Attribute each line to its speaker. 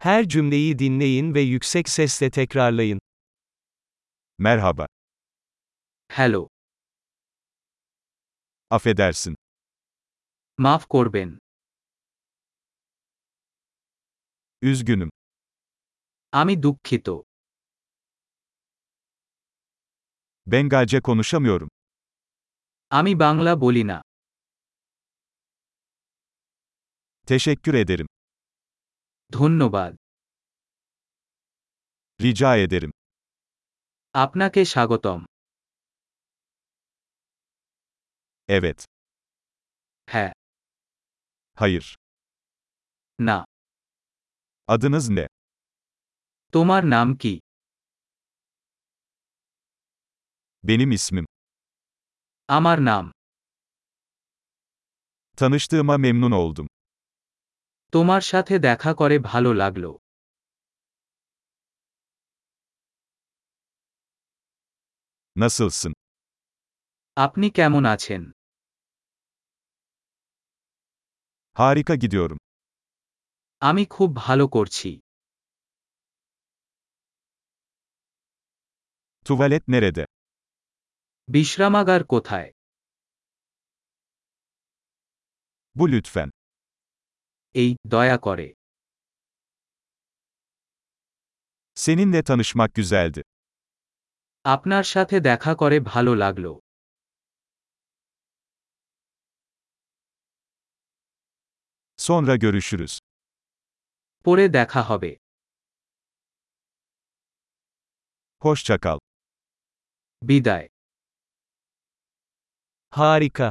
Speaker 1: Her cümleyi dinleyin ve yüksek sesle tekrarlayın.
Speaker 2: Merhaba.
Speaker 3: Hello
Speaker 2: Affedersin.
Speaker 3: মাফ করবেন
Speaker 2: Üzgünüm.
Speaker 3: আমি দুঃখিত
Speaker 2: Bengalce konuşamıyorum.
Speaker 3: আমি বাংলা বলি না
Speaker 2: Teşekkür ederim.
Speaker 3: ধন্যবাদ
Speaker 2: Rica ederim.
Speaker 3: আপনাকে স্বাগতম
Speaker 2: Evet.
Speaker 3: হ্যাঁ
Speaker 2: Hayır.
Speaker 3: না
Speaker 2: Adınız ne?
Speaker 3: তোমার নাম কি
Speaker 2: Benim ismim.
Speaker 3: আমার নাম
Speaker 2: Tanıştığıma memnun oldum.
Speaker 3: তোমার সাথে দেখা করে ভালো লাগলো
Speaker 2: Nasılsın?
Speaker 3: আপনি কেমন আছেন
Speaker 2: Harika gidiyorum.
Speaker 3: আমি খুব ভালো করছি
Speaker 2: Tuvalet nerede?
Speaker 3: বিশ্রামাগার কোথায়
Speaker 2: Bu lütfen.
Speaker 3: এই দয়া করে
Speaker 2: Seninle tanışmak güzeldi.
Speaker 3: আপনার সাথে দেখা করে ভালো লাগলো
Speaker 2: Sonra görüşürüz.
Speaker 3: পরে দেখা হবে
Speaker 2: Hoşça kal.
Speaker 3: বিদায়
Speaker 1: Harika.